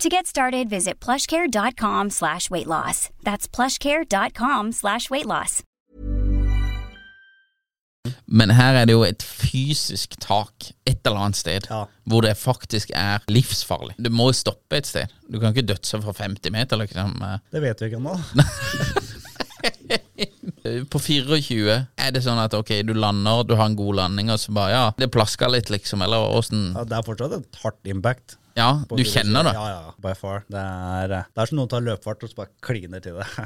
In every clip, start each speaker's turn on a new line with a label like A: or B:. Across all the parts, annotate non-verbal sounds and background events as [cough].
A: To get started, visit plushcare.com slash weight loss. That's plushcare.com slash weight loss.
B: Men her er det jo et fysisk tak et eller annet sted
C: Ja.
B: hvor det faktisk er livsfarlig. Du må jo stoppe et sted. Du kan ikke dødse fra 50 meter,
C: [laughs]
B: liksom.
C: Det vet vi ikke ennå.
B: Eh, På 24 er det sånn at ok, du lander, du har en god landing, og så bare ja, det plasker litt, liksom, eller åssen
C: Ja, det er fortsatt et hardt impact.
B: Ja,
C: på
B: du
C: fire
B: kjenner
C: kilo.
B: det.
C: Ja, ja, by far. Det er, eh, det er som noen tar løpefart og så bare kliner til det. [laughs]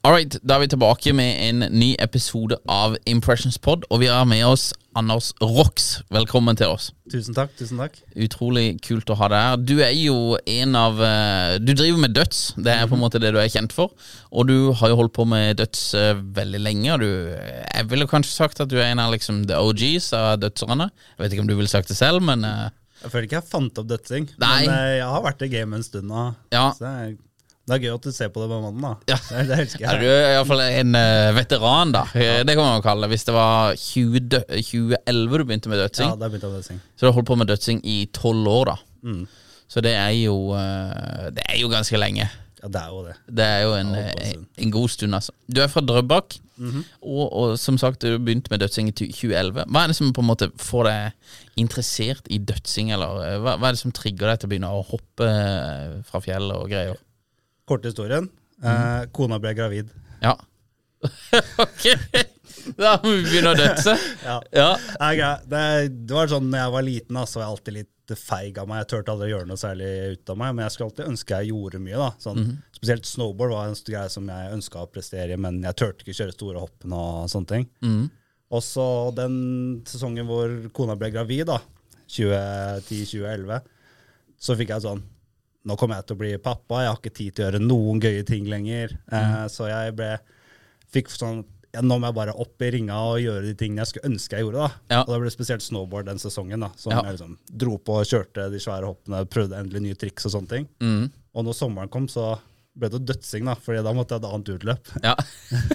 B: Alright, da er vi tilbake med en ny episode av Impressions Pod, og vi har med oss Anders Rox. Velkommen til oss.
C: Tusen takk, tusen takk.
B: Utrolig kult å ha deg her. Du er jo en av eh, Du driver med døds, det er på en måte det du er kjent for. Og du har jo holdt på med døds eh, veldig lenge, og du eh, Jeg ville kanskje sagt at du er en av liksom the OGs av dødserne. Jeg vet ikke om du ville sagt det selv, men eh,
C: Jeg føler ikke jeg fant opp dødsing,
B: Nei.
C: men eh, jeg har vært i gamet en stund nå.
B: Ja.
C: Så det er, det er gøy at du ser på det med mannen, da.
B: Ja.
C: [laughs] Det, det elsker
B: Ja, du
C: jeg.
B: er iallfall en eh, veteran, da. Eh, Det kan man jo kalle det. Hvis det var 20, dø- 2011 du begynte med
C: Ja,
B: dødsing,
C: da begynte jeg med dødsing.
B: så du har holdt på med dødsing i tolv år, da. Så det er jo eh, Det er jo ganske lenge.
C: Ja, det er jo det.
B: Det er jo en,
C: Ja, bare
B: en, en god stund, altså. Du er fra Drøbak,
C: Mhm.
B: og, og som sagt, du begynte med dødsing i 2011. Hva er det som på en måte får deg interessert i dødsing, eller eh, hva, hva er det som trigger deg til å begynne å hoppe eh, fra fjell og greier?
C: Kort historien.
B: Mm.
C: Eh, kona ble gravid.
B: Ja. [laughs] ok, da må vi begynne å dødse.
C: [laughs] Ja.
B: Ja.
C: Nei, grei. Det, det var sånn når jeg var liten, da, så var jeg alltid litt feig av meg. Jeg turte aldri å gjøre noe særlig ut av meg, men jeg skulle alltid ønske jeg gjorde mye. da. Sånn, Spesielt snowboard var en st- greie som jeg ønska å prestere i, men jeg turte ikke kjøre store hoppene og sånne ting. Og så den sesongen hvor kona ble gravid, da, 2010-2011, så fikk jeg sånn Nå kommer jeg til å bli pappa, jeg har ikke tid til å gjøre noen gøye ting lenger.
B: Mm.
C: Eh, så jeg ble fikk sånn ja, Nå må jeg bare opp i ringa og gjøre de tingene jeg skulle ønske jeg gjorde. da.
B: Ja.
C: Og det ble spesielt snowboard den sesongen, da, som
B: Ja.
C: jeg liksom dro på og kjørte de svære hoppene, prøvde endelig nye triks og sånne ting.
B: Mm.
C: Og når sommeren kom, så ble det dødsing, da, fordi da måtte jeg ha et annet utløp.
B: Ja.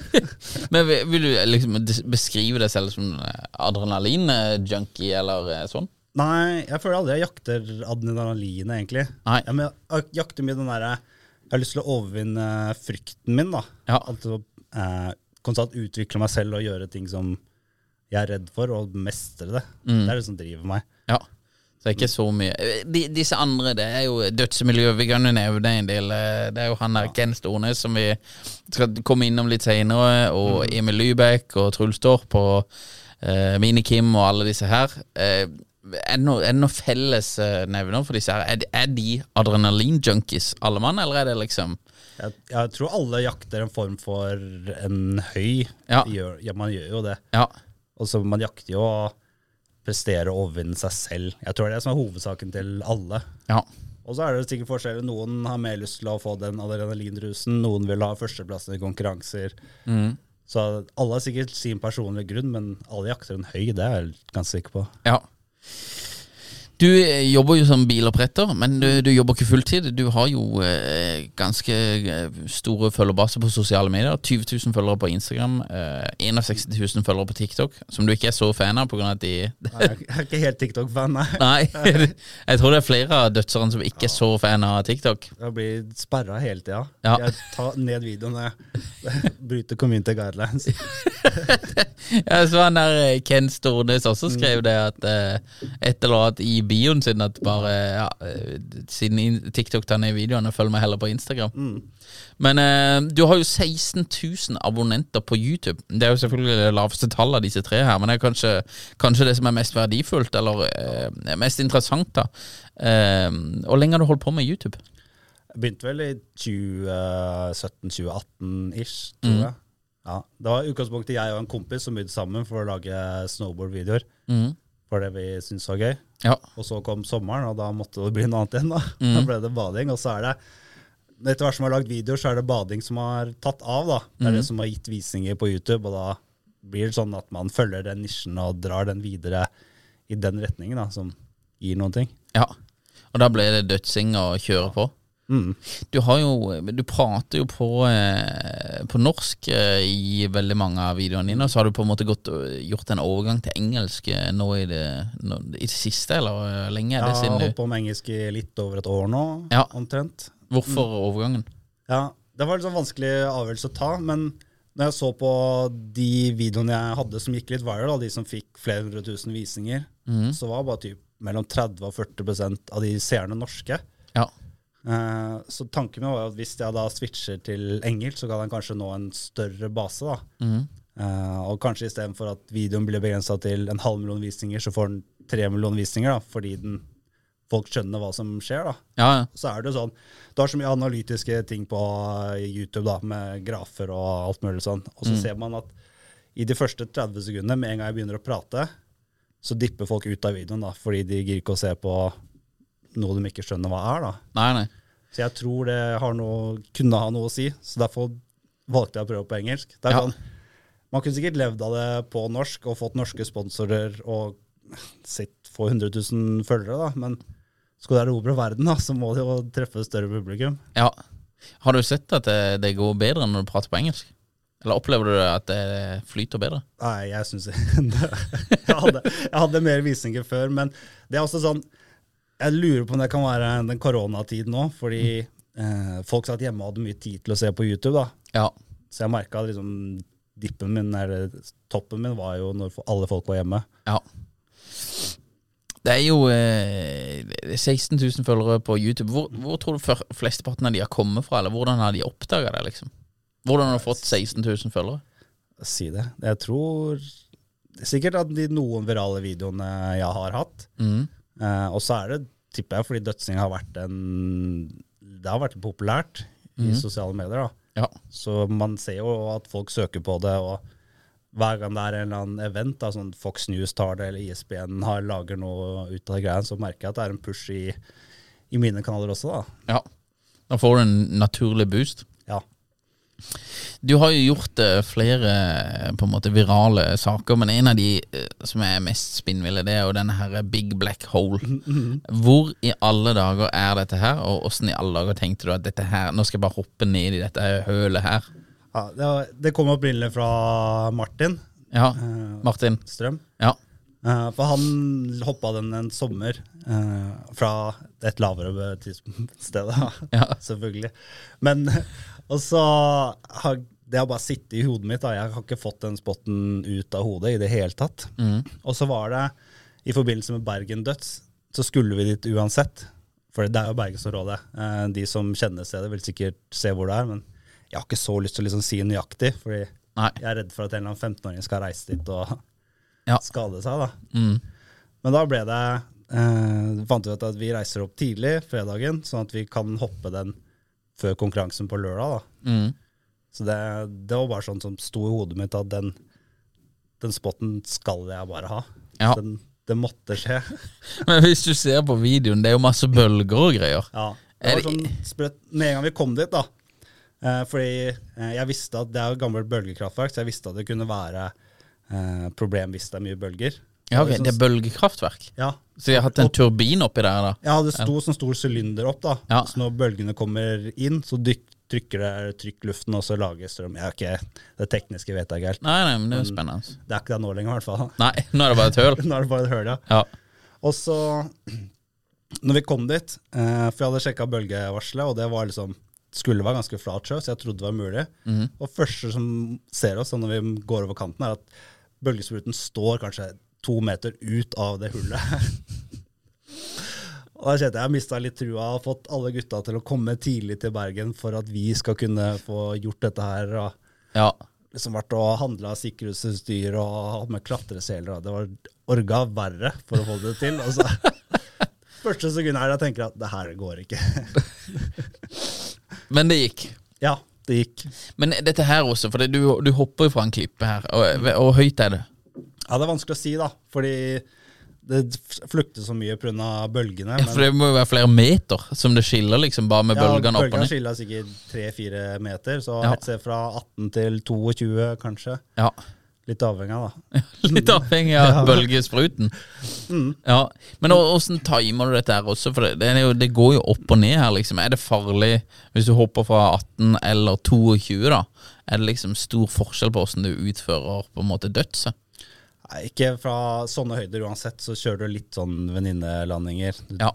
B: [laughs] Men vil vil du liksom des- beskrive deg selv som eh, adrenalin-junkie, eller eh, sånn?
C: Nei, jeg føler aldri jeg jakter adrenalinet, egentlig.
B: Nei.
C: Ja, men jeg jakter mye den derre Jeg har lyst til å overvinne frykten min, da.
B: Ja.
C: Altså eh, konstant utvikle meg selv og gjøre ting som jeg er redd for, og mestre det.
B: Mm.
C: Det er det som driver meg.
B: Ja. Så det er ikke så mye Eh, De, Disse andre, det er jo dødsmiljøet. Vi kan jo nevne en del. eh, Det er jo han der Ken Stornes som vi skal komme innom litt seinere, og Emil Lybekk og Truls Torp og eh, Mini-Kim og alle disse her. Eh, er det noe- er det noen felles eh, nevner for disse her? Er de, er de adrenalin-junkies, alle mann, eller er det liksom
C: Jeg, jeg tror alle jakter en form for en høy.
B: Ja.
C: De Gjør, ja, man gjør jo det.
B: Ja.
C: Og så man jakter jo å prestere og overvinne seg selv. Jeg tror det er det som er hovedsaken til alle.
B: ja.
C: Og så er det sikkert forskjeller. Noen har mer lyst til å få den adrenalinrusen, noen vil ha førsteplassen i konkurranser. Så alle har sikkert sin personlige grunn, men alle jakter en høy, det er jeg ganske sikker på.
B: Ja. Du eh, jobber jo som biloppretter, men du, du jobber ikke fulltid. Du har jo eh, ganske eh, store følgerbaser på sosiale medier. 20 000 følgere på Instagram, eh, 61 000 følgere på TikTok, som du ikke er så fan av pga. at de [laughs]
C: Nei, Jeg er ikke helt TikTok-fan, nei.
B: Nei, [laughs] jeg tror det er flere av dødserne som ikke er så fan av TikTok.
C: Jeg blir sperra hele tida.
B: Ja.
C: Jeg tar ned videoen jeg [laughs] bryter community guidelines.
B: Jeg så han der eh, Ken Stornes også skrev det at eh, et eller annet i bioen sin at bare ja, eh, Siden in- TikTok tar ned videoene, følg meg heller på Instagram. Men eh, du har jo 16 000 abonnenter på YouTube. Det er jo selvfølgelig det laveste tallet av disse tre her, men det er kanskje, kanskje det som er mest verdifullt, eller eh, mest interessant, da. Eh, Hvor lenge har du holdt på med YouTube?
C: Jeg begynte vel i 2017-2018-ish, tror jeg. Ja, det var i utgangspunktet jeg og en kompis som begynte sammen for å lage snowboard-videoer. For det vi syntes var gøy.
B: Ja.
C: Og så kom sommeren, og da måtte det bli noe annet igjen. Da
B: Mm.
C: Da ble det bading. Og så er det Etter hvert som jeg har lagd videoer, så er det bading som har tatt av. da Det er
B: Mm.
C: det som har gitt visninger på YouTube, og da blir det sånn at man følger den nisjen og drar den videre i den retningen, da som gir noen ting.
B: Ja, og da ble det dødsing å kjøre på. Du har jo Du prater jo på, eh, på norsk eh, i veldig mange av videoene dine, og så har du på en måte gått, og gjort en overgang til engelsk eh, nå i det, nå, i det siste, eller eh, lenge? Er
C: Jeg
B: det
C: har
B: siden
C: holdt
B: du,
C: på med engelsk i litt over et år nå,
B: Ja.
C: omtrent.
B: hvorfor overgangen?
C: Ja, det var en sånn vanskelig avgjørelse å ta, men når jeg så på de videoene jeg hadde som gikk litt viral, da, de som fikk flere hundre tusen visninger, så var bare typ mellom 30 og 40 prosent av de seerne norske.
B: Ja.
C: Eh, så tanken min var jo at hvis jeg da switcher til engelsk, så kan jeg kanskje nå en større base. da. Eh, og kanskje istedenfor at videoen blir begrensa til en halv million visninger, så får den tre million visninger, da, fordi den, folk skjønner hva som skjer. da
B: Ja, ja.
C: så er det jo sånn Du har så mye analytiske ting på eh, YouTube da, med grafer og alt mulig sånn. Og så ser man at i de første 30 sekundene, med en gang jeg begynner å prate, så dipper folk ut av videoen, da, fordi de gir ikke å se på noe de ikke skjønner hva er. da.
B: Nei, nei.
C: Så jeg tror det har noe, kunne ha noe å si, så derfor valgte jeg å prøve på engelsk. Det er
B: Ja.
C: sånn, man kunne sikkert levd av det på norsk og fått norske sponsorer og sitt få 100 000 følgere, da. men skal du erobre verden, da, så må det jo treffe et større publikum.
B: Ja. Har du sett at det, det går bedre når du prater på engelsk? Eller opplever du at eh, det flyter bedre?
C: Nei, jeg syns [laughs] jeg, hadde- jeg hadde mer visninger før, men det er også sånn Jeg lurer på om det kan være den koronatiden nå, fordi eh, folk satt hjemme og hadde mye tid til å se på YouTube. da.
B: Ja.
C: Så jeg merka liksom dippen min, eller toppen min, var jo når alle folk var hjemme.
B: Ja. Det er jo eh, 16 000 følgere på YouTube. Hvor, hvor tror du før- flesteparten av de har kommet fra, eller hvordan har de oppdaga det? liksom? Hvordan har du fått 16 000 følgere?
C: Si det. Jeg tror sikkert at de noen virale videoene jeg har hatt. Eh, og så er det, tipper jeg, fordi dødsing har vært en Det har vært populært i sosiale medier. da.
B: Ja.
C: Så man ser jo at folk søker på det. og hver gang det er en eller annen event, da, sånn Fox News tar det, eller E ISBN har, lager noe ut av greien, så merker jeg at det er en push i, i mine kanaler også. da.
B: ja. Da får du en naturlig boost.
C: Ja.
B: Du har jo gjort eh, flere eh, på en måte virale saker, men en av de eh, som er mest spinnville, det er jo denne her Big Black Hole. Hvor i alle dager er dette her, og åssen i alle dager tenkte du at dette her, nå skal jeg bare hoppe ned i dette hølet her?
C: Ja, det, var- det kom opprinnelig fra Martin
B: Ja, Martin.
C: Strøm.
B: Ja.
C: Eh, for han hoppa den en sommer eh, fra et lavere tids- sted, da, [laughs]
B: Ja.
C: selvfølgelig. Men [laughs] Og så har det har bare sittet i hodet mitt. Da. Jeg har ikke fått den spotten ut av hodet i det hele tatt.
B: Mm.
C: Og så var det i forbindelse med Bergen Døds, så skulle vi dit uansett. For det er jo Bergen som rår det. Eh, de som kjenner stedet, vil sikkert se hvor det er. Men jeg har ikke så lyst til å liksom si nøyaktig, fordi
B: Nei.
C: jeg er redd for at en eller annen 15-åring skal reise dit og
B: Ja. Mm.
C: skade seg. da. Men da ble det eh, fant vi ut at vi reiser opp tidlig fredagen, sånn at vi kan hoppe den før konkurransen på lørdag. da.
B: Mm.
C: Så det, det var bare sånn som sto i hodet mitt at den, den spotten skal jeg bare ha.
B: Ja.
C: Den, det måtte skje.
B: Men hvis du ser på videoen, det er jo masse bølger og greier.
C: Ja.
B: Er
C: Det
B: det-
C: var sånn sprøtt med en gang vi kom dit, da. Eh, fordi eh, jeg visste at det er jo et gammelt bølgekraftverk, så jeg visste at det kunne være eh, problem hvis det er mye bølger.
B: Ja, ok,
C: var jo
B: Det
C: sånn-
B: er bølgekraftverk.
C: Ja.
B: Så de har hatt en turbin oppi der, da.
C: ja, det sto sånn stor sylinder opp, da.
B: Ja.
C: Så når bølgene kommer inn, så dyk, trykker det trykk luften, og så lager strøm. Ja, ok, det tekniske vet jeg ikke helt.
B: Nei, nei, men det er jo spennende.
C: Det er ikke det nå lenger, i hvert fall. [laughs]
B: Nei, [laughs] nå er det bare et høl.
C: Nå er det bare et høl, ja.
B: Ja.
C: Og så, [clears throat] når vi kom dit, eh, for jeg hadde sjekka bølgevarselet, og det var liksom skulle være ganske flat sjø, så jeg trodde det var mulig. Og første som ser oss sånn når vi går over kanten, er at bølgespruten står kanskje to meter ut av det hullet. [laughs] Og da kjente jeg jeg mista litt trua og fått alle gutta til å komme tidlig til Bergen for at vi skal kunne få gjort dette her. Og
B: ja.
C: liksom vært og handla sikkerhetsutstyr og hatt med klatreseler. og Det var orga verre for å få det til. Altså. [laughs] Første sekund her jeg tenker at det her går ikke. [laughs]
B: Men det gikk.
C: Ja, det gikk.
B: Men dette her også, for det, du, du hopper jo fra en klippe her, og, og høyt er det.
C: Ja, det er vanskelig å si, da. Fordi det flukter så mye pga. bølgene.
B: Ja, for det må jo være flere meter som det skiller, liksom, bare med
C: ja,
B: bølgene opp og
C: bølgene
B: ned.
C: skiller sikkert 3-4 meter, så
B: Ja.
C: et sted fra 18 til 22 kanskje.
B: Ja.
C: Litt avhengig av, da.
B: [laughs] Litt avhengig av bølgespruten. Ja. Men å- åssen timer du dette her også? For det, det, er jo, det går jo opp og ned her, liksom. Er det farlig hvis du hopper fra 18 eller 22, da? Er det liksom stor forskjell på åssen du utfører på en måte dødset?
C: Nei, ikke fra sånne høyder uansett, så kjører du litt sånn venninnelandinger. Du
B: Ja.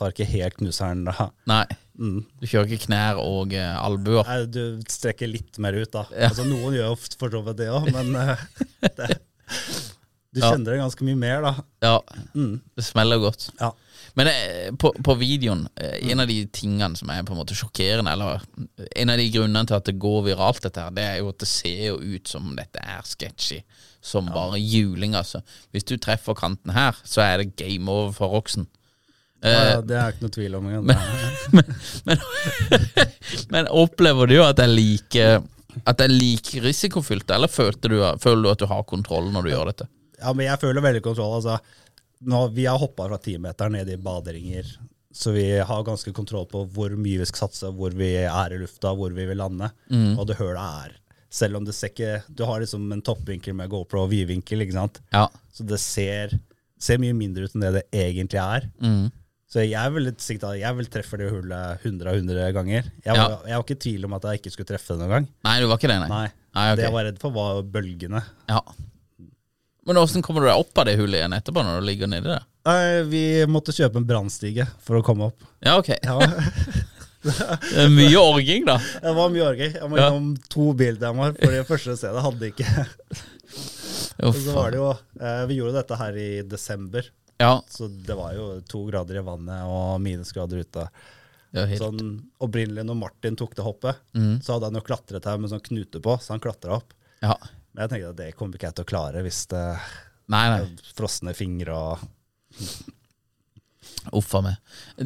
C: tar ikke helt knuseren da.
B: Nei. Du kjører ikke knær og eh, albuer.
C: Nei, du strekker litt mer ut, da. Altså, noen gjør jo f- for så vidt det òg, men eh, det, du
B: Ja.
C: kjenner det ganske mye mer, da.
B: Ja. Det smeller godt.
C: Ja.
B: Men eh, på, på videoen, eh, en av de tingene som er på en måte sjokkerende, eller eh, en av de grunnene til at det går viralt, dette her, det er jo at det ser jo ut som dette er sketchy. Som bare juling, altså. Hvis du treffer kanten her, så er det game over for Roxen.
C: Ja, det er ikke noe tvil om. engang.
B: Men opplever du at det er like At det er like risikofylt, eller følte du, føler du at du har kontroll når du gjør dette?
C: Ja, men jeg føler veldig kontroll. Altså, nå, vi har hoppa fra timeteren ned i baderinger, så vi har ganske kontroll på hvor mye vi skal satse, hvor vi er i lufta, hvor vi vil lande, og det hølet er. Selv om det ser ikke Du har liksom en toppvinkel med GoPro og vidvinkel, ikke sant?
B: Ja.
C: Så det ser, ser mye mindre ut enn det det egentlig er.
B: Mm.
C: Så jeg vil, sikkert at jeg vil treffe det hullet 100 av 100 ganger. Jeg var, jeg var ikke i tvil om at jeg ikke skulle treffe det noen gang.
B: Nei, du var ikke det, nei?
C: Nei.
B: Nei, ok.
C: Det jeg var redd for, var bølgene.
B: Ja. Men åssen kommer du deg opp av det hullet igjen etterpå, når du ligger nedi der?
C: Nei, vi måtte kjøpe en brannstige for å komme opp.
B: Ja,
C: [laughs]
B: ok.
C: Ja,
B: Det er mye orging, da.
C: det var mye orger. Jeg må
B: Ja.
C: innom to bildammer, for det første stedet hadde ikke.
B: Jo,
C: Og så var det jo, eh, Vi gjorde dette her i desember,
B: Ja,
C: så det var jo to grader i vannet og minusgrader ute.
B: det er helt Mm.
C: Sånn, opprinnelig når Martin tok det hoppet, så hadde han jo klatretau med sånn knute på, så han klatra opp.
B: ja.
C: Men jeg tenkte at det kommer ikke jeg til å klare hvis det
B: Nei, nei.
C: frosne fingre og
B: Uff a meg.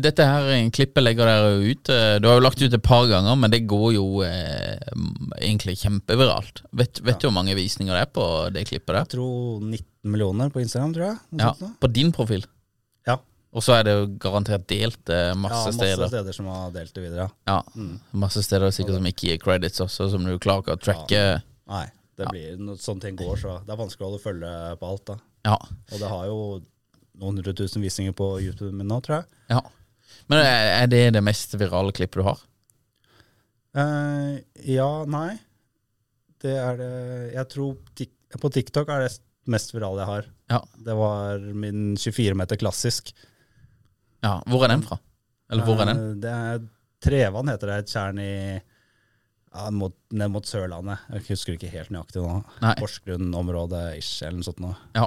B: Dette her eh, klippet legger dere jo ut. eh, Du har jo lagt ut et par ganger, men det går jo eh, m- egentlig kjempeviralt. Vet, vet du hvor mange visninger det er på det klippet
C: Jeg
B: der?
C: tror 19 millioner på Instagram, tror jeg. noe
B: Ja,
C: sånt noe.
B: På din profil.
C: ja.
B: Og så er det jo garantert delt eh,
C: ja
B: masse
C: masse steder. Mm.
B: steder.
C: som har delt det videre. ja.
B: Ja, Masse steder sikkert som ikke gir credits også, som du klarer ikke å tracke.
C: Nei, det blir når sånne ting går, så det er vanskelig å holde følge på alt. da.
B: Ja.
C: Og det har jo noen hundre tusen visninger på YouTube min nå, tror jeg.
B: ja. Men er er det det mest virale klippet du har?
C: Eh, ja, nei. Det er det Jeg tror tik på TikTok er det mest virale jeg har.
B: Ja.
C: Det var min 24 meter klassisk.
B: ja. Hvor er den fra? Eller hvor er den?
C: Eh, Det er Trevann heter det, et tjern i ja, mot, ned mot Sørlandet. Jeg husker ikke helt nøyaktig nå.
B: Nei.
C: Porsgrunn-området ish, eller noe sånt noe.
B: Ja.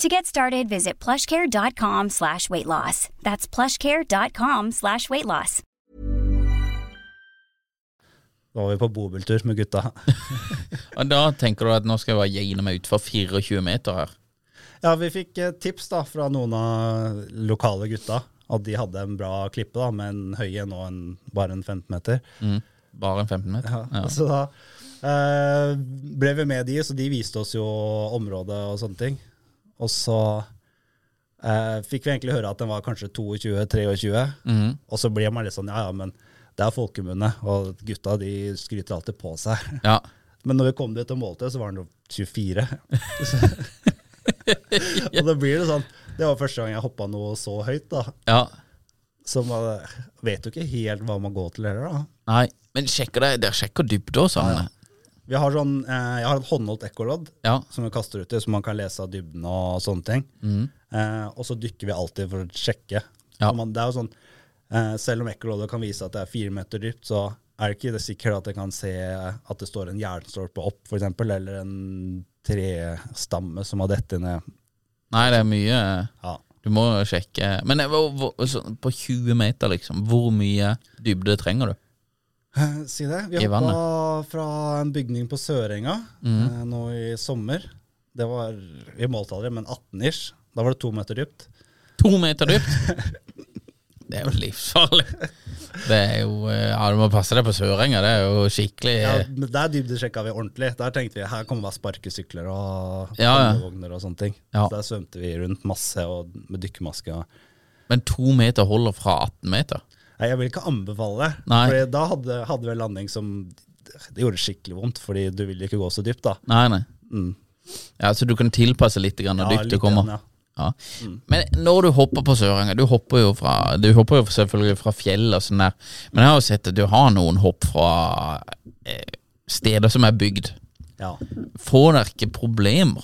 A: To get started, visit plushcare.com slash weight loss. That's plushcare.com slash weight loss.
C: Da var vi på bobiltur med gutta. [laughs]
B: Og da tenker du at nå skal jeg bare gine meg utfor 24 meter her.
C: Ja, vi fikk eh, tips da fra noen av lokale gutta. At de hadde en bra klippe da, med en høye nå en, bare en 15 meter.
B: Bare en 15 meter.
C: Ja. Så da eh, ble vi med de, så de viste oss jo området og sånne ting. Og så eh, fikk vi egentlig høre at den var kanskje 22-23, og så blir man litt sånn ja ja, men det er folkemunne, og gutta de skryter alltid på seg. [laughs]
B: Ja.
C: Men når vi kom dit og målte, så var den jo [laughs] 24. og da blir det sånn Det var første gang jeg hoppa noe så høyt, da.
B: ja.
C: Så man eh, vet jo ikke helt hva man går til heller, da.
B: Nei, men sjekker det, dere sjekker dybde sånn, også, Arne.
C: Vi har sånn, eh, jeg har et håndholdt ekkolodd
B: Ja.
C: som vi kaster uti, så man kan lese av dybden og sånne ting. Eh, og så dykker vi alltid for å sjekke.
B: Mm. Ja.
C: Så Man, det er jo sånn, eh, selv om ekkoloddet kan vise at det er fire meter dypt, så er det ikke det sikkert at jeg kan se at det står en jernstolpe opp, for eksempel, eller en trestamme som har dette ned.
B: Nei, det er mye eh,
C: Ja.
B: Du må jo sjekke. Men det var- hvor- så på 20 meter, liksom, hvor mye dybde trenger du?
C: Eh, Si det. Vi
B: I Mm.
C: hoppa fra en bygning på Sørenga eh, nå i sommer. Det var, vi målte aldri, men 18 ish. Da var det to meter dypt.
B: To meter dypt?
C: [laughs]
B: Det er jo livsfarlig. Det er jo eh, Ja, du må passe deg på Sørenga. Det er jo skikkelig eh.
C: Ja, men der dybdesjekka vi ordentlig. Der tenkte vi her kommer det være sparkesykler og
B: Ja, ja.
C: pannevogner og sånne ting.
B: Ja.
C: Så der svømte vi rundt masse og med dykkermaske. og-
B: Men to meter holder fra 18 meter?
C: Nei, Jeg vil ikke anbefale det.
B: Nei.
C: Fordi da hadde, hadde vi en landing som det gjorde skikkelig vondt, fordi du vil ikke gå så dypt, da.
B: Nei, nei. Ja, Så du kan tilpasse litt grann når
C: Mm. Ja,
B: dypt
C: litt
B: det kommer?
C: grann, ja. Mm.
B: Ja. Men når du hopper på Sørenga Du hopper jo fra Du hopper jo selvfølgelig fra fjell og sånn der, men jeg har jo sett at du har noen hopp fra eh, steder som er bygd.
C: Ja.
B: Får dere ikke problemer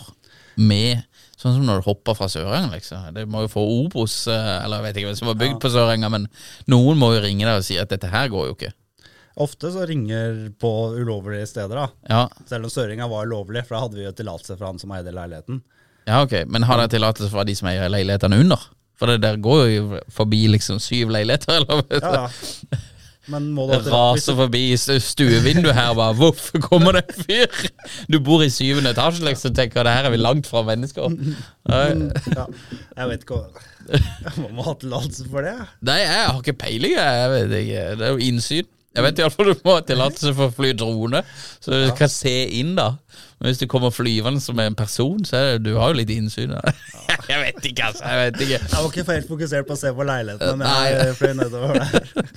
B: med Sånn som når du hopper fra Sørenga, liksom. Det må jo få Obos, eh, eller jeg vet ikke hvem som var bygd på Sørenga, men noen må jo ringe deg og si at dette her går jo ikke.
C: Ofte så ringer på ulovlige steder, da.
B: Ja,
C: Selv om Søringa var lovlig, for da hadde vi jo tillatelse fra han som eide leiligheten.
B: ja ok, men har dere tillatelse fra de som eier leilighetene under? For det der går jo forbi liksom syv leiligheter, eller?
C: Ja, ja. Men må du ha
B: Det [laughs] raser
C: tillatelse?
B: forbi stu- stuevinduet her bare Hvorfor kommer det en fyr? Du bor i syvende etasje, liksom, tenker det her er vi langt fra mennesker. Nei,
C: Ja. Jeg vet ikke hva [laughs] Man må ha tillatelse for det.
B: Nei, jeg har ikke peiling, jeg. jeg vet ikke. Det er jo innsyn. Jeg vet iallfall du må ha tillatelse for å fly drone, så du kan se inn, da. Men hvis du kommer flyvende som en person, så er det, du har jo litt innsyn. Da. [laughs] Jeg vet ikke, altså. Jeg vet ikke.
C: Jeg var ikke helt fokusert på å se på leiligheten, men
B: Nei.
C: jeg fløy nedover der.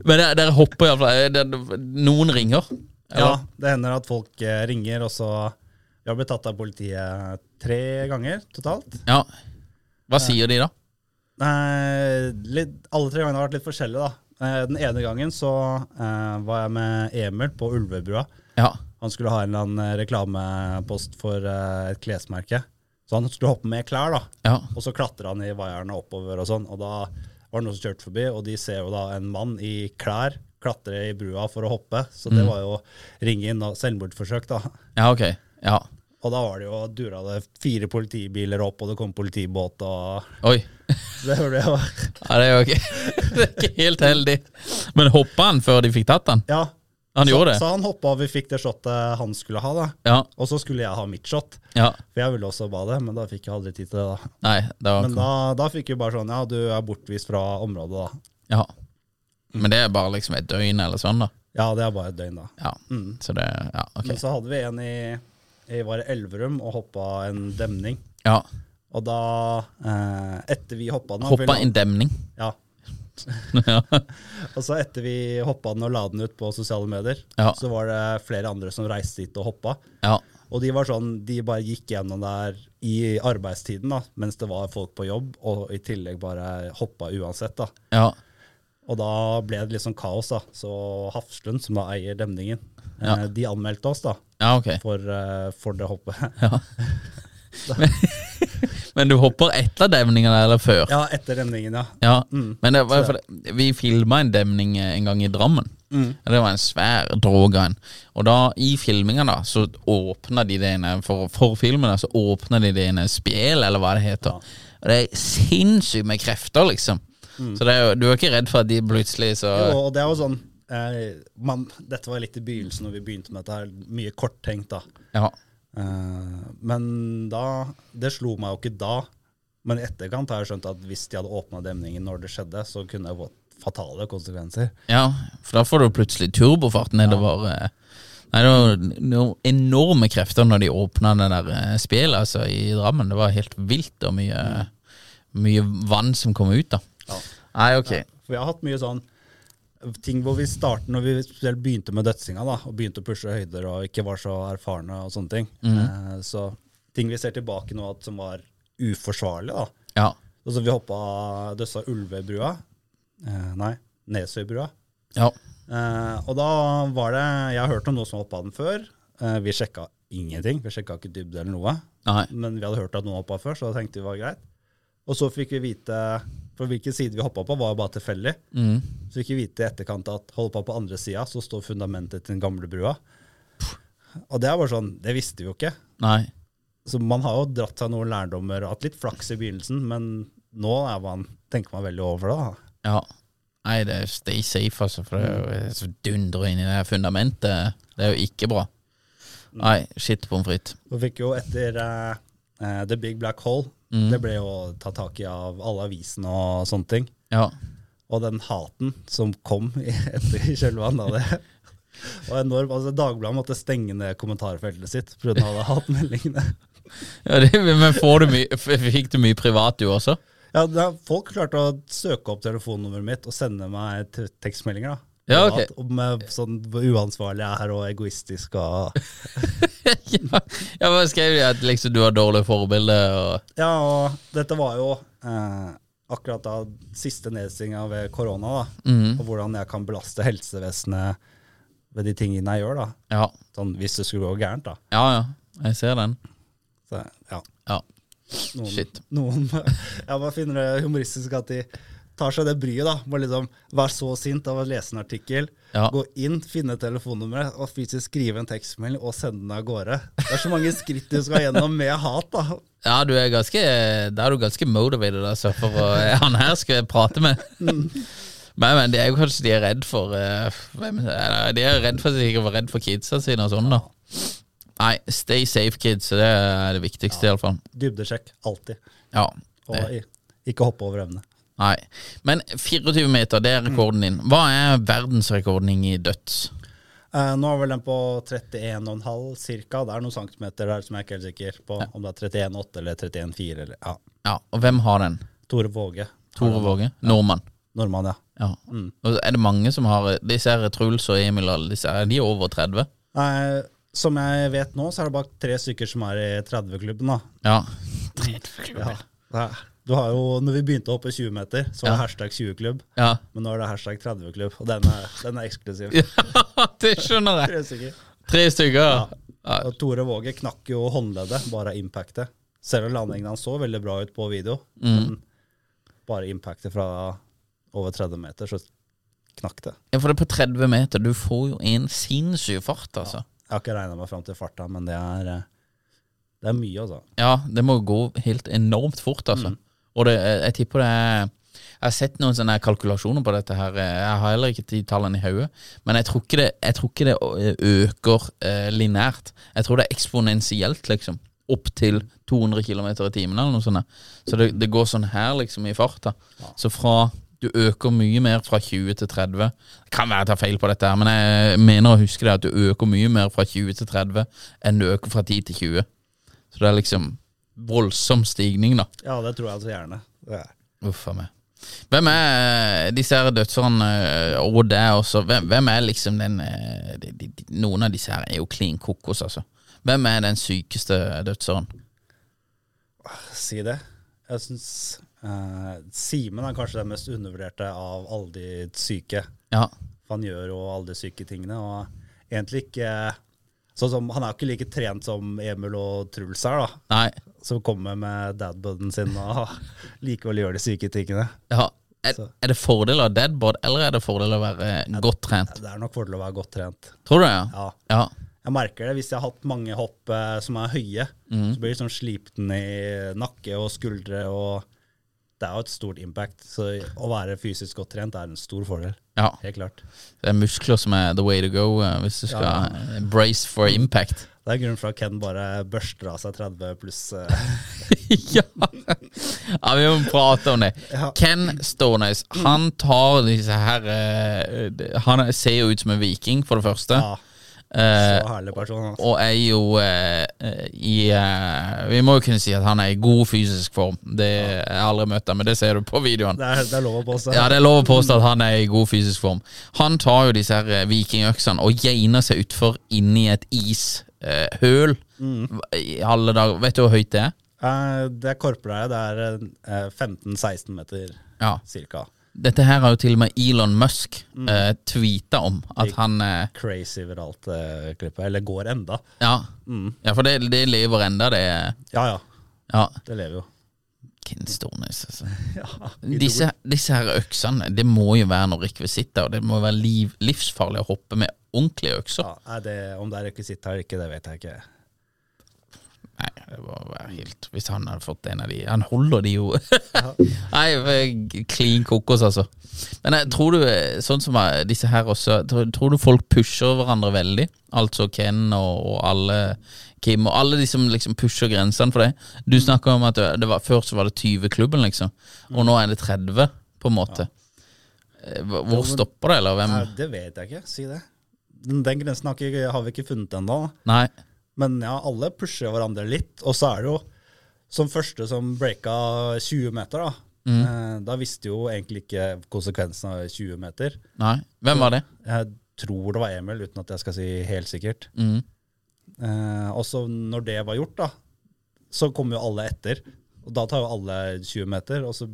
B: Men dere- dere hopper iallfall. Eh, Noen ringer.
C: Ja,
B: eller?
C: det hender at folk eh, ringer, og så Vi har blitt tatt av politiet tre ganger totalt.
B: ja. Hva sier de da?
C: Nei, litt, alle tre gangene har vært litt forskjellige, da. Eh, Den ene gangen så eh, var jeg med Emil på Ulvebrua.
B: Ja.
C: Han skulle ha en eller annen eh, reklamepost for eh, et klesmerke. Så han skulle hoppe med klær, da.
B: Ja.
C: Og så klatra han i vaierne oppover og sånn. Og da var det noen som kjørte forbi, og de ser jo da en mann i klær klatre i brua for å hoppe. Så
B: Mm.
C: det var jo ringe inn og selvmordsforsøk, da.
B: Ja, ok. Ja.
C: Og da var det jo dura det fire politibiler opp, og det kom politibåt og
B: Oi.
C: Det ble jo
B: [laughs] Ja, det er jo ikke, det er ikke helt heldig. Men hoppa han før de fikk tatt han?
C: Ja.
B: Han
C: så,
B: gjorde det?
C: Så han hoppa, og vi fikk det shotet han skulle ha, da.
B: Ja.
C: Og så skulle jeg ha mitt shot.
B: ja.
C: For jeg ville også bade, men da fikk jeg aldri tid til det, da.
B: Nei, det var
C: Men da, da fikk vi bare sånn Ja, du er bortvist fra området, da.
B: Ja. Men det er bare liksom et døgn eller sånn, da?
C: Ja, det er bare et døgn, da.
B: Ja. Så det Ja, ok.
C: Men så hadde vi en i, i var det Elverum og hoppa en demning.
B: Ja.
C: Og da, eh, etter vi hoppa den da,
B: Hoppa
C: vi la-
B: en demning. [laughs]
C: Ja.
B: ja.
C: Og så etter vi hoppa den og la den ut på sosiale medier,
B: Ja.
C: så var det flere andre som reiste dit og hoppa.
B: ja.
C: Og de var sånn, de bare gikk gjennom der i arbeidstiden, da, mens det var folk på jobb, og i tillegg bare hoppa uansett. da.
B: Ja.
C: Og da ble det litt sånn kaos, da. Så Hafslund, som da eier demningen, eh, de anmeldte oss da,
B: Ja, ok. [laughs]
C: for, eh, for det hoppet.
B: Ja. Men, [laughs] Men du hopper etter demninga der, eller før?
C: Ja, etter demningen, ja.
B: Ja, men det var, for, det- vi filma en demning eh, en gang i Drammen. Og Det var en svær drågan. Og da, i filminga, da, så åpna de det ene For, for filmen, da, så åpna de det ene spjel, eller hva det heter. Og det er sinnssykt med krefter, liksom. Så det er jo, du er ikke redd for at de plutselig så
C: Jo, og det er jo sånn eh, man, Dette var litt i begynnelsen når vi begynte med dette. her, Mye korttenkt, da.
B: Ja.
C: Eh, men da Det slo meg jo ikke da. Men i etterkant har jeg skjønt at hvis de hadde åpna demningen når det skjedde, så kunne det fått fatale konsekvenser.
B: ja, for da får du plutselig turbofart nedover eh. Nei, det var noen enorme krefter når de åpna det der eh, spjelet altså, i Drammen. Det var helt vilt og mye, mye vann som kom ut, da. Nei, ok.
C: For vi har hatt mye sånn ting hvor vi startet når vi spesielt begynte med dødsinga, da, og begynte å pushe høyder og ikke var så erfarne og sånne ting. Eh, så ting vi ser tilbake nå at som var uforsvarlig, da.
B: Ja.
C: Altså, vi hoppa døssa Ulvebrua. Eh, nei, Nesøybrua.
B: ja.
C: Eh, og da var det Jeg har hørt om noen som hoppa den før. Eh, vi sjekka ingenting. Vi sjekka ikke dybde eller noe.
B: Nei.
C: Men vi hadde hørt at noen hoppa før, så da tenkte vi det var greit. Og så fikk vi vite For hvilken side vi hoppa på, var bare tilfeldig. Så fikk vi vite i etterkant at hoppa på andre sida, så står fundamentet til den gamle brua. Og det er bare sånn Det visste vi jo ikke.
B: Nei.
C: Så man har jo dratt seg noen lærdommer og hatt litt flaks i begynnelsen, men nå er man, tenker man veldig over det. da.
B: Ja. Nei, det er stay safe, altså, for det er jo så dundrer inn i det her fundamentet. Det er jo ikke bra. Nei, shit pommes frites.
C: Så fikk jo etter eh, eh, The Big Black Hole,
B: Mm.
C: det ble jo tatt tak i av alle avisene og sånne ting.
B: Ja.
C: Og den haten som kom [laughs] i- etter i kjølvannet av det. [laughs] Og enorm, altså Dagbladet måtte stenge ned kommentarfeltet sitt pga. alle hatmeldingene. [laughs]
B: ja det, men får du mye, f- fikk du mye privat, du også?
C: Ja, da, folk klarte å søke opp telefonnummeret mitt og sende meg te- tekstmeldinger. da.
B: Ja, ok.
C: Privat, Om eh, sånn hvor uansvarlig jeg er og egoistisk og
B: [laughs] ja, ja, men skrev de at liksom du har dårlige forbilder og
C: Ja, og dette var jo eh, akkurat da siste nedstenginga ved korona, da.
B: Mhm.
C: Og hvordan jeg kan belaste helsevesenet ved de tingene jeg gjør, da.
B: Ja,
C: Sånn hvis det skulle gå gærent, da.
B: ja. ja. Jeg ser den.
C: Så, ja,
B: Ja.
C: noen,
B: Shit.
C: noen [laughs] Jeg bare finner det humoristisk at de tar seg det bryet, da. Bare liksom være så sint av å lese en artikkel,
B: Ja.
C: gå inn, finne telefonnummeret og fysisk skrive en tekstmelding og sende den av gårde. Det er så mange skritt du skal gjennom med hat, da.
B: Ja, du er ganske Da er du ganske motivated, altså, for å, [laughs] han her skal jeg prate [laughs] med. Men, men det er jo kanskje de er redd for eh, hvem, eh, De er redd for sikkert var redd for kidsa sine og sånn, da. Nei, stay safe, kids. Det er det viktigste, i alle fall
C: Dybdesjekk, alltid.
B: Ja.
C: Og
B: Det.
C: i- ikke hoppe over evne.
B: Nei. Men 24 meter, det er rekorden din. Hva er verdensrekorden din i døds?
C: Eh, nå er vel den på 31,5 cirka. Det er noen centimeter der som jeg er ikke helt sikker på om det er 31,8 eller 31,4. eller- Ja.
B: Ja, og hvem har den?
C: Tore Våge.
B: Tore Våge? Nordmann.
C: Nordmann, ja.
B: Ja. Og så er det mange som har Disse her Truls og Emil alle disse, her, de er over 30?
C: Nei, Eh, som jeg vet nå, så er det bare tre stykker som er i 30-klubben. da.
B: [laughs] Ja.
C: Ja. Det er- Du har jo, når vi begynte å hoppe 20 meter, så var det hashtag 20-klubb.
B: ja.
C: Men nå er det hashtag 30-klubb, og den er, den er eksklusiv.
B: det skjønner jeg.
C: Tre stykker.
B: Tre stykker. Ja.
C: Og Tore Våge knakk jo håndleddet, bare av impactet. Selv om landingen hans så veldig bra ut på video, men bare impactet fra over 30 meter, så knakk det.
B: Ja, for det er på 30 meter. Du får jo en sinnssyk fart, altså.
C: Jeg har ikke regna meg fram til farta, men det er, eh, det er mye, altså.
B: Ja, det må gå helt enormt fort, altså. Og det, jeg tipper det er Jeg har sett noen sånne kalkulasjoner på dette her. Jeg har heller ikke de tallene i hodet. Men jeg tror ikke det, jeg tror ikke det ø- øker eh, lineært. Jeg tror det er eksponentielt, liksom. Opp til 200 km i timen eller noe sånt. Så det, det går sånn her, liksom, i farta. Så fra du øker mye mer fra 20 til 30. Det kan være jeg tar feil på dette, her, men jeg mener å huske det at du øker mye mer fra 20 til 30 enn du øker fra 10 til 20. Så det er liksom voldsom stigning, da.
C: Ja, det tror jeg altså gjerne. Det er-
B: Uff a meg. Hvem er eh, disse her dødserne, eh, og det er også Hvem, hvem er liksom den eh, de, de, de, Noen av disse her er jo klin kokos, altså. Hvem er den sykeste dødseren?
C: Si det. Jeg syns eh, Simen er kanskje den mest undervurderte av alle de syke.
B: Ja.
C: For han gjør jo alle de syke tingene, og egentlig ikke Sånn som, Han er jo ikke like trent som Emil og Truls er, da.
B: Nei.
C: som kommer med dadbudden sin og [laughs] likevel gjør de syke tingene.
B: Ja. Er, er det fordel av deadbod, eller er det fordel av å være eh, godt trent?
C: Det er nok fordel å være godt trent.
B: Tror du det? Ja.
C: Ja.
B: ja.
C: Jeg merker det hvis jeg har hatt mange hopp eh, som er høye.
B: Mhm.
C: Så blir jeg sånn sliten i nakke og skuldre, og det er jo et stort impact. Så å være fysisk godt trent er en stor fordel.
B: ja.
C: Helt klart.
B: Det er muskler som er the way to go eh, hvis du skal eh, brace for impact.
C: Det er grunnen for at Ken bare børster av seg 30 pluss. eh,
B: ja. ja, vi må prate om det. Ken Stonøys, han tar disse her eh, de- Han er- ser jo ut som en viking, for det første.
C: Ja,
B: [laughs] Eh,
C: så herlig person. Altså.
B: og er jo eh, eh, i eh, Vi må jo kunne si at han er i god fysisk form. Det Jeg har aldri møtt ham, men det ser du på videoen.
C: Det er, det er lov å påstå.
B: Ja, Det er lov å påstå at han er i god fysisk form. Han tar jo disse her eh, vikingøksene og geiner seg utfor inni et ishøl. I alle dager. Vet du hvor høyt det er?
C: Eh, det er korporære. Det er eh, 15-16 meter
B: Ja.
C: cirka.
B: Dette her har jo til og med Elon Musk mm. tweeta om. At han eh,
C: Crazy viralt eh, klippet. Eller går enda.
B: ja. ja, for det, det lever enda, det. eh,
C: Ja ja,
B: Ja.
C: det lever jo.
B: Ken Stornes, altså.
C: Ja,
B: Disse, disse her øksene, det må jo være noen rekvisitter, og det må være liv, livsfarlig å hoppe med ordentlige økser.
C: er det, om det er rekvisitt her eller ikke, det vet jeg ikke.
B: Nei, det må være helt Hvis han hadde fått en av de Han holder de jo [laughs] Nei, eh, clean kokos, altså. Men jeg tror du, eh, sånn som eh, disse her også, tror, tror du folk pusher hverandre veldig? Altså Ken og, og alle Kim og alle de som liksom pusher grensene for det. Du snakker om at det var, før så var det 20-klubben, liksom. Og nå er det 30, på en måte. Eh, hva- Hvor stopper det, eller hvem?
C: Nei, det vet jeg ikke, si det. Den, den grensen har, ikke, har vi ikke funnet ennå.
B: Nei.
C: Men ja, alle pusher hverandre litt. Og så er det jo som første som breaka 20 meter, da. Eh, da visste jo egentlig ikke konsekvensen av 20 meter.
B: Nei. Hvem var det? [laughs]
C: Jeg tror det var Emil, uten at jeg skal si helt sikkert.
B: Mm.
C: Eh, og så når det var gjort, da, så kom jo alle etter. Og da tar jo alle 20 meter, og så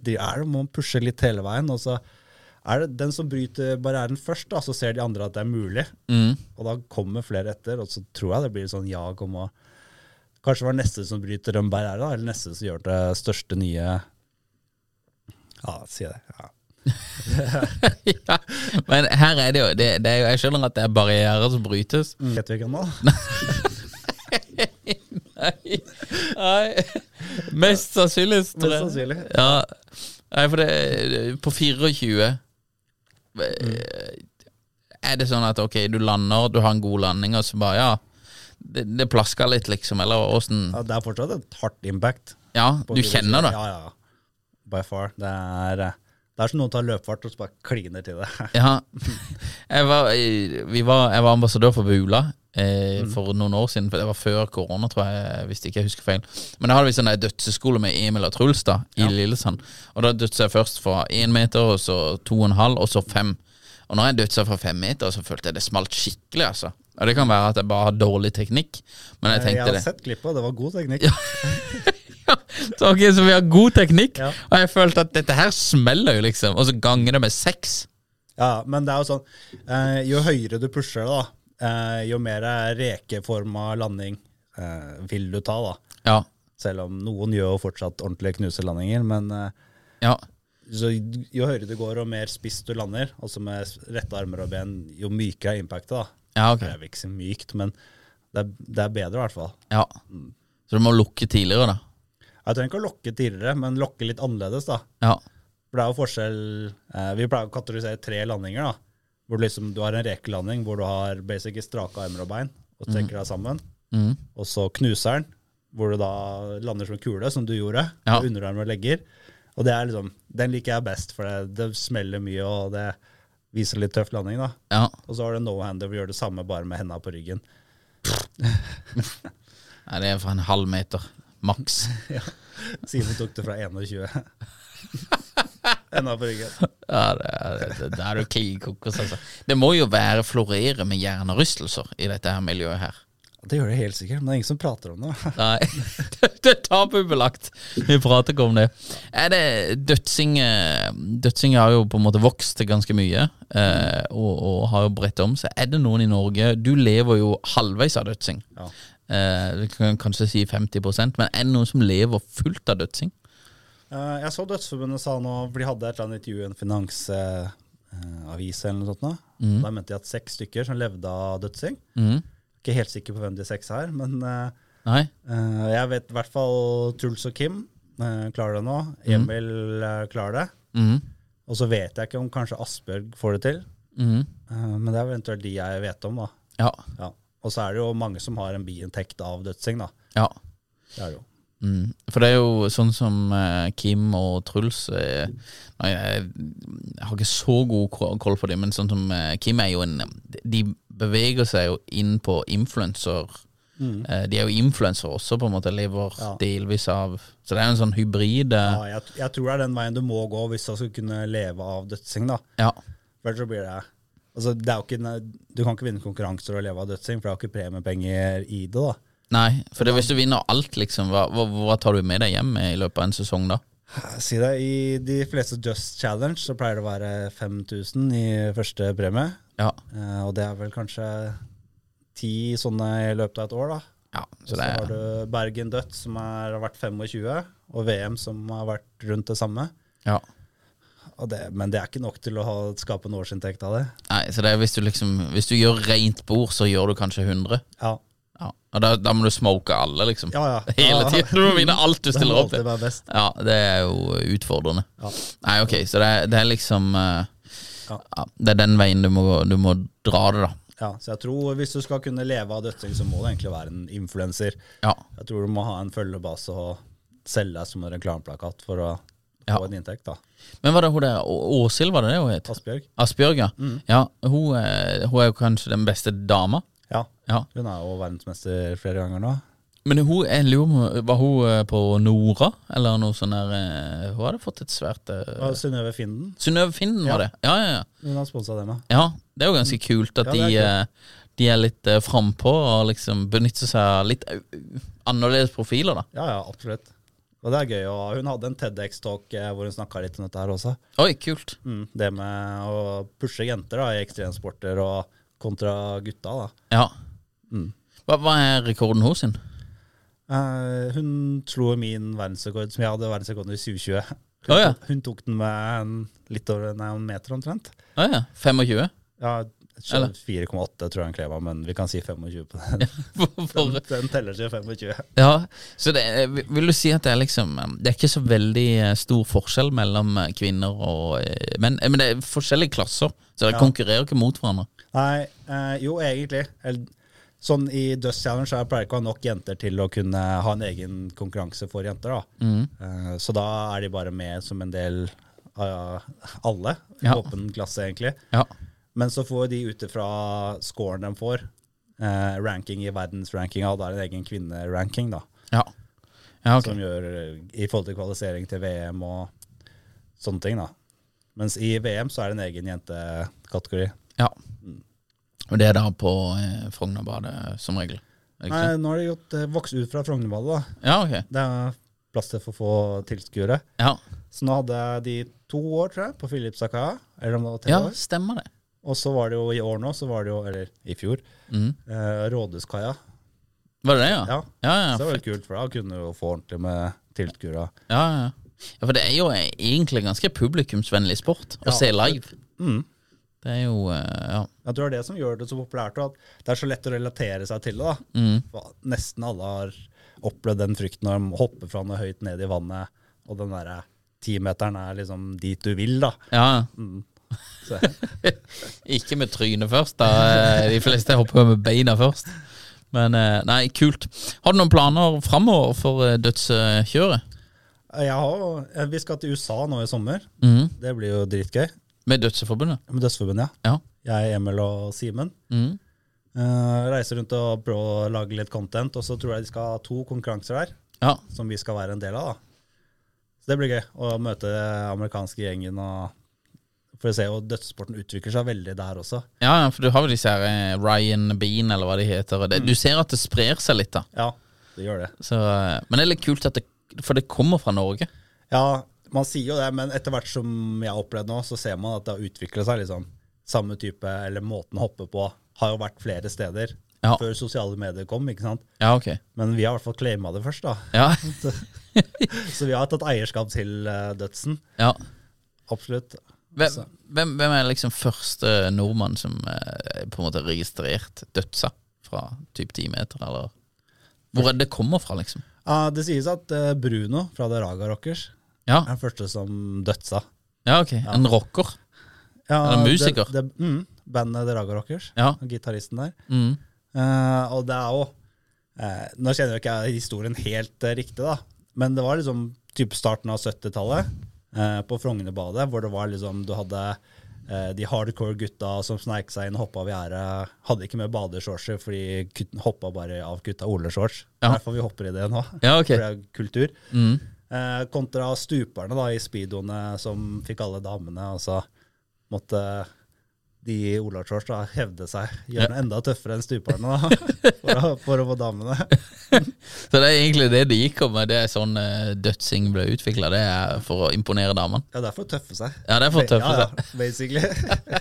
C: de er, må pushe litt hele veien. Og så er det den som bryter barrieren først, da, så ser de andre at det er mulig.
B: Mm.
C: Og da kommer flere etter, og så tror jeg det blir sånn jag om å Kanskje det var neste som bryter en barriere, da, eller neste som gjør det største nye Ja, si det.
B: ja.
C: Ja.
B: Men her er det jo, det, det er jo Jeg skjønner at det er barrierer som brytes.
C: Vet vi ikke ennå?
B: Nei. Nei. Mest sannsynlig. tror
C: Mest
B: jeg.
C: sannsynlig.
B: Ja. Nei, for det På 24 eh,
C: Mm.
B: Er det sånn at ok, du lander, du har en god landing, og så bare ja Det, det plasker litt, liksom, eller åssen
C: Ja, det er fortsatt et hardt impact.
B: Ja,
C: på
B: du
C: det
B: kjenner det?
C: Ja, ja. ja. By far. Det er, eh, det er som noen tar løpefart og så bare kliner til det.
B: Ja. Jeg var, i- vi var, jeg var ambassadør for Bula eh,
C: Mm.
B: for noen år siden. for Det var før korona, tror jeg, hvis ikke jeg husker feil. Men da hadde vi sånn der dødseskole med Emil og Truls da, i Lillesand. Og da dødsa jeg først fra én meter, og så to og en halv, og så fem. Og når jeg dødsa fra fem meter, så følte jeg det smalt skikkelig, altså. Og det kan være at jeg bare har dårlig teknikk, men
C: [laughs]
B: jeg
C: Jeg
B: tenkte
C: har
B: det.
C: sett klippet, og det var god teknikk.
B: [laughs] Så, ok, så vi har god teknikk,
C: Ja.
B: og jeg følte at dette her smeller jo, liksom. Og så ganger det med seks.
C: Ja, men det er jo sånn, eh, jo høyere du pusher det, da, eh, jo mer rekeforma landing eh, vil du ta, da.
B: Ja.
C: Selv om noen gjør jo fortsatt ordentlige knuselandinger, men eh,
B: Ja.
C: så, jo høyere du går og mer spiss du lander, altså med s- rette armer og ben, jo mykere er impactet, da.
B: Ja, ok.
C: Det er vel ikke så mykt, men det er, det er bedre i hvert fall.
B: Ja. Så du må lukke tidligere, da.
C: Jeg trenger ikke å lokke tidligere, men lokke litt annerledes, da.
B: Ja.
C: For det er jo forskjell eh, Vi pleier å kategorisere tre landinger. da. Hvor du, liksom, du har en rekelanding hvor du har basically strake armer og bein og trekker deg sammen.
B: Mm.
C: Og så knuseren, hvor du da lander som en kule, som du gjorde.
B: Ja.
C: Med underarmer og legger. Og det er liksom, Den liker jeg best, for det, det smeller mye, og det viser litt tøff landing. da.
B: ja.
C: Og så har du no-hander hvor du gjør det samme, bare med henda på ryggen.
B: Nei, det er for en halv meter. Maks.
C: [laughs] Simen tok det fra
B: [laughs]
C: 21. henda på ryggen.
B: Ja, det er, det, det er jo klin kokos, altså. Det må jo være florere med hjernerystelser i dette her miljøet her.
C: Det gjør det helt sikkert, men det er ingen som prater om det.
B: Nei, [laughs] Det er tabubelagt. Vi prater ikke om det. Er det dødsing eh, Dødsing har jo på en måte vokst til ganske mye, eh, og, og har jo bredt om seg. Er det noen i Norge Du lever jo halvveis av dødsing.
C: Ja.
B: Eh, du kan kanskje si 50 men er det noen som lever fullt av dødsing?
C: Eh, Jeg så Dødsforbundet sa nå, for de hadde et eller annet intervju i en finansavis eller noe sånt. nå. Da mente de at seks stykker som levde av dødsing. Ikke helt sikker på hvem de seks er, men eh,
B: Nei?
C: eh, jeg vet i hvert fall Truls og Kim eh, klarer det nå. Emil eh, klarer det. Og så vet jeg ikke om kanskje Asbjørg får det til. Eh, men det er vel eventuelt de jeg vet om, da.
B: Ja.
C: Ja. Og så er det jo mange som har en biinntekt av dødsing, da.
B: ja.
C: Det er det jo.
B: Mm. For det er jo sånn som eh, Kim og Truls eh, nei, jeg, jeg har ikke så god ko- koll på det, men sånn som eh, Kim er jo en De beveger seg jo inn på influenser. Eh, de er jo influensere også, på en måte. Lever
C: Mm. Ja.
B: delvis av Så det er jo en sånn hybrid.
C: Ja,
B: eh,
C: jeg, jeg tror det er den veien du må gå hvis du skal kunne leve av dødsing, da.
B: ja.
C: For ellers så blir det Altså, det er jo ikke, en- du kan ikke vinne konkurranser og leve av dødsing, for det er jo ikke premiepenger i det. da.
B: Nei, for det, hvis du vinner alt, liksom, hva, hva, hva tar du med deg hjem eh, i løpet av en sesong da?
C: Si det, I de fleste Just Challenge så pleier det å være 5000 i første premie.
B: Ja.
C: Eh, og det er vel kanskje ti sånne i løpet av et år. da.
B: ja
C: Så
B: så det
C: har
B: er,
C: du Bergen Dødt, som er, har vært 25, og VM, som har vært rundt det samme.
B: ja.
C: Og det, men det er ikke nok til å ha, skape en årsinntekt av det.
B: Nei, så det er hvis du liksom Hvis du gjør rent bord, så gjør du kanskje 100.
C: Ja,
B: Ja. Og da, da må du smoke alle, liksom.
C: ja. ja.
B: [laughs] Hele
C: Ja.
B: tiden. Du må vinne alt du
C: Det må
B: stiller opp i.
C: alltid være best.
B: Ja, det er jo utfordrende.
C: Ja.
B: Nei, ok, så det er, det er liksom eh,
C: Ja.
B: ja, Det er den veien du må, du må dra det, da.
C: Ja, så jeg tror Hvis du skal kunne leve av dødsing, så må du egentlig være en influenser.
B: Ja.
C: Jeg tror du må ha en følgebase og selge deg som en reklameplakat for å
B: Ja.
C: få en inntekt. da.
B: Men var det hun der Å- Åshild, var det det hun het?
C: Asbjørg?
B: Asbjørg, ja.
C: Mm.
B: ja hun, er, hun er jo kanskje den beste dama.
C: Ja.
B: Ja.
C: Hun er jo verdensmester flere ganger nå.
B: Men hun, jeg lurer på Var hun eh, på Nora, eller noe sånn der eh, Hun hadde fått et svært eh,
C: Og Synnøve Finden.
B: Synnøve Finden var det. Ja, ja, ja.
C: Hun har sponsa det med.
B: ja. Det er jo ganske kult at
C: Ja, det er
B: de, eh, de er litt eh, frampå og liksom benytter seg av litt eh, annerledes profiler, da.
C: Ja, ja, absolutt. Og det er gøy. Og hun hadde en TEDX-talk eh, hvor hun snakka litt om dette her også.
B: Oi, kult.
C: Mm, det med å pushe jenter da, i ekstremsporter og kontra gutta. da.
B: Ja. Hva, hva er rekorden hos sin?
C: Eh, hun slo min verdensrekord, som jeg hadde verdensrekorden i 2020. Hun,
B: Å, ja.
C: tok, hun tok den med en, litt over nei, en meter omtrent.
B: Å ja, 25?
C: Ja,
B: Eller?
C: 4,8 tror jeg han kleva, men vi kan si 25 på den.
B: [laughs] For, for,
C: [laughs] Den teller til 25.
B: ja. Så det, er- vil du si at det er liksom eh, Det er ikke så veldig eh, stor forskjell mellom eh, kvinner og eh, menn? Eh, Men det er forskjellige klasser, så de
C: Ja.
B: konkurrerer ikke mot hverandre.
C: Nei, eh, jo egentlig. Eller, Sånn I Dust Challenge så pleier det ikke å ha nok jenter til å kunne ha en egen konkurranse for jenter. da.
B: Mm.
C: Eh, så da er de bare med som en del av alle. i
B: Ja.
C: Åpen klasse, egentlig.
B: Ja.
C: Men så får de ut ifra scoren de får, eh, ranking i verdensrankinga, og da er det en egen kvinneranking, da.
B: Ja, ja ok.
C: Som gjør eh, i forhold til kvalifisering til VM og sånne ting, da. Mens i VM så er det en egen jentekategori.
B: Ja.
C: Mm.
B: Og det er da på eh, Frognerbadet, som regel? Er det
C: Nei,
B: ikke sant?
C: nå har de gått, eh, vokst ut fra Frognerballet, da.
B: Ja, ok.
C: Det er plass til for få tilskuere.
B: Ja.
C: Så nå hadde de to år, tror jeg, på Filipsakaia. Eller om det var tre
B: ja,
C: år.
B: stemmer det.
C: Og så var det jo i år nå, så var det jo, eller i fjor, eh, Rådhuskaia.
B: Var det det, Mhm. ja?
C: Ja.
B: ja,
C: Så
B: ja,
C: det var
B: fett.
C: jo kult, for da kunne du jo få ordentlig med tilskuere.
B: ja, ja. ja for det er jo eh, egentlig ganske publikumsvennlig sport å
C: Ja,
B: se live.
C: Mm.
B: Det er jo eh, Ja.
C: Jeg tror det er det som gjør det så populært, og at det er så lett å relatere seg til det. da. For Nesten alle har opplevd den frykten når de hopper fra noe høyt ned i vannet, og den derre timeteren er liksom dit du vil, da.
B: ja.
C: Mm.
B: [laughs]
C: Så,
B: Ikke med trynet først, da. eh, De fleste hopper jo med beina først. Men eh, nei, kult. Har du noen planer framover for eh, dødskjøret?
C: jeg har, jo- eh, vi skal til USA nå i sommer.
B: Mhm.
C: Det blir jo dritgøy.
B: Med Dødsforbundet?
C: Med Dødsforbundet, ja.
B: Ja.
C: Jeg, Emil og Simen.
B: Mhm.
C: Eh, reiser rundt og prøver å lage litt content, og så tror jeg de skal ha to konkurranser der.
B: ja.
C: som vi skal være en del av. da. Så det blir gøy å møte amerikanske gjengen. og for å se, og Dødssporten utvikler seg veldig der også.
B: Ja, Mm. ja, for du har jo disse her eh, Ryan Bean, eller hva de heter. og Det, du ser at det sprer seg litt, da.
C: Ja, det gjør det.
B: Så, eh, men det er litt kult, at det, for det kommer fra Norge.
C: Ja, man sier jo det, men etter hvert som jeg har opplevd nå, så ser man at det har utvikla seg. liksom. Samme type, eller måten å hoppe på, har jo vært flere steder
B: Ja.
C: før sosiale medier kom. ikke sant?
B: Ja, ok.
C: Men vi har i hvert fall claima det først, da.
B: [laughs] Ja,
C: Så vi har tatt eierskap til eh, dødsen.
B: ja.
C: Absolutt.
B: Hvem, hvem, hvem er liksom første nordmann som eh, på en måte har registrert dødsa fra typ ti meter, eller hvor er det det kommer fra, liksom?
C: Ja, det sies at eh, Bruno fra The Raga Rockers
B: Ja,
C: er den første som dødsa.
B: ja ok. En rocker.
C: Ja,
B: Er det musiker?
C: Det, det, mm, bandet The Raga Rockers,
B: Ja.
C: gitaristen der.
B: Mm.
C: Eh, og det er jo eh, Nå kjenner jo ikke jeg historien helt eh, riktig, da. Men det var liksom typ starten av 70-tallet eh, på Frognerbadet, hvor det var liksom Du hadde eh, de hardcore gutta som sneik seg inn og hoppa av gjerdet. Hadde ikke med badeshortser, for de kutt- hoppa bare av gutta oleshorts. Det
B: Ja.
C: er Derfor vi hopper i det nå.
B: Ja, ok. Mm.
C: For det er kultur. Eh, kontra stuperne da, i speedoene som fikk alle damene. Altså måtte de olashorts da hevde seg. Gjøre det enda tøffere enn stuperne da,
B: [laughs]
C: for, å, for å få damene.
B: Så det er egentlig det de gikk om, det er sånn eh, dødsing ble utvikla, det er for å imponere damene.
C: Ja, det er for å tøffe seg.
B: Ja, det er for å tøffe
C: Ja,
B: seg.
C: ja, basically.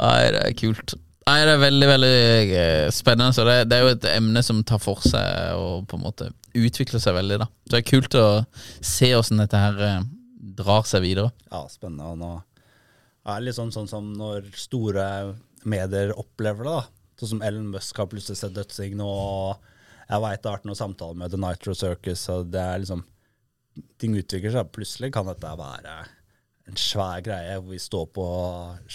B: Nei, det er kult. Nei, det er veldig, veldig eh, spennende. Så det, det er jo et emne som tar for seg og på en måte utvikler seg veldig, da. Så det er kult å se åssen dette her eh, drar seg videre.
C: Ja, spennende. Og nå er det litt sånn, sånn som når store medier opplever det, da. Sånn som Ellen Musk har plutselig sett dødsing nå, og jeg veit det har vært noen samtaler med The Nitro Circus, og det er liksom Ting utvikler seg. Plutselig kan dette være en svær greie hvor vi står på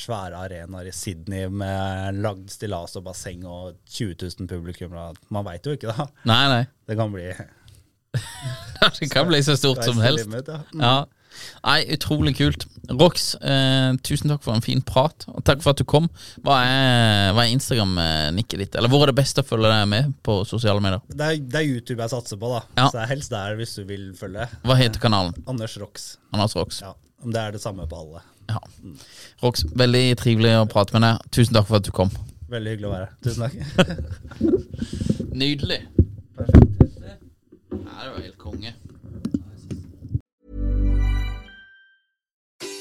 C: svære arenaer i Sydney med lagd stillas og basseng og 20 000 publikummere. Man veit jo ikke, da.
B: Nei, nei. [laughs]
C: Det kan bli
B: Det kan bli så stort som
C: Sky's the
B: helst.
C: limit, ja.
B: Ja. Nei, utrolig kult. Rox, eh, tusen takk for en fin prat, og takk for at du kom. Hva er, hva er Instagram-nikket ditt? Eller hvor er det best å følge deg med på sosiale medier?
C: Det er, det er YouTube jeg satser på, da.
B: Ja.
C: Så det er helst der hvis du vil følge.
B: Hva heter kanalen?
C: Anders Rox.
B: Anders Rox.
C: Ja, om det er det samme på alle.
B: Ja. Rox, veldig trivelig å prate med deg. Tusen takk for at du kom.
C: Veldig hyggelig å være her. Tusen takk.
B: Nydelig. Ja, det var helt konge.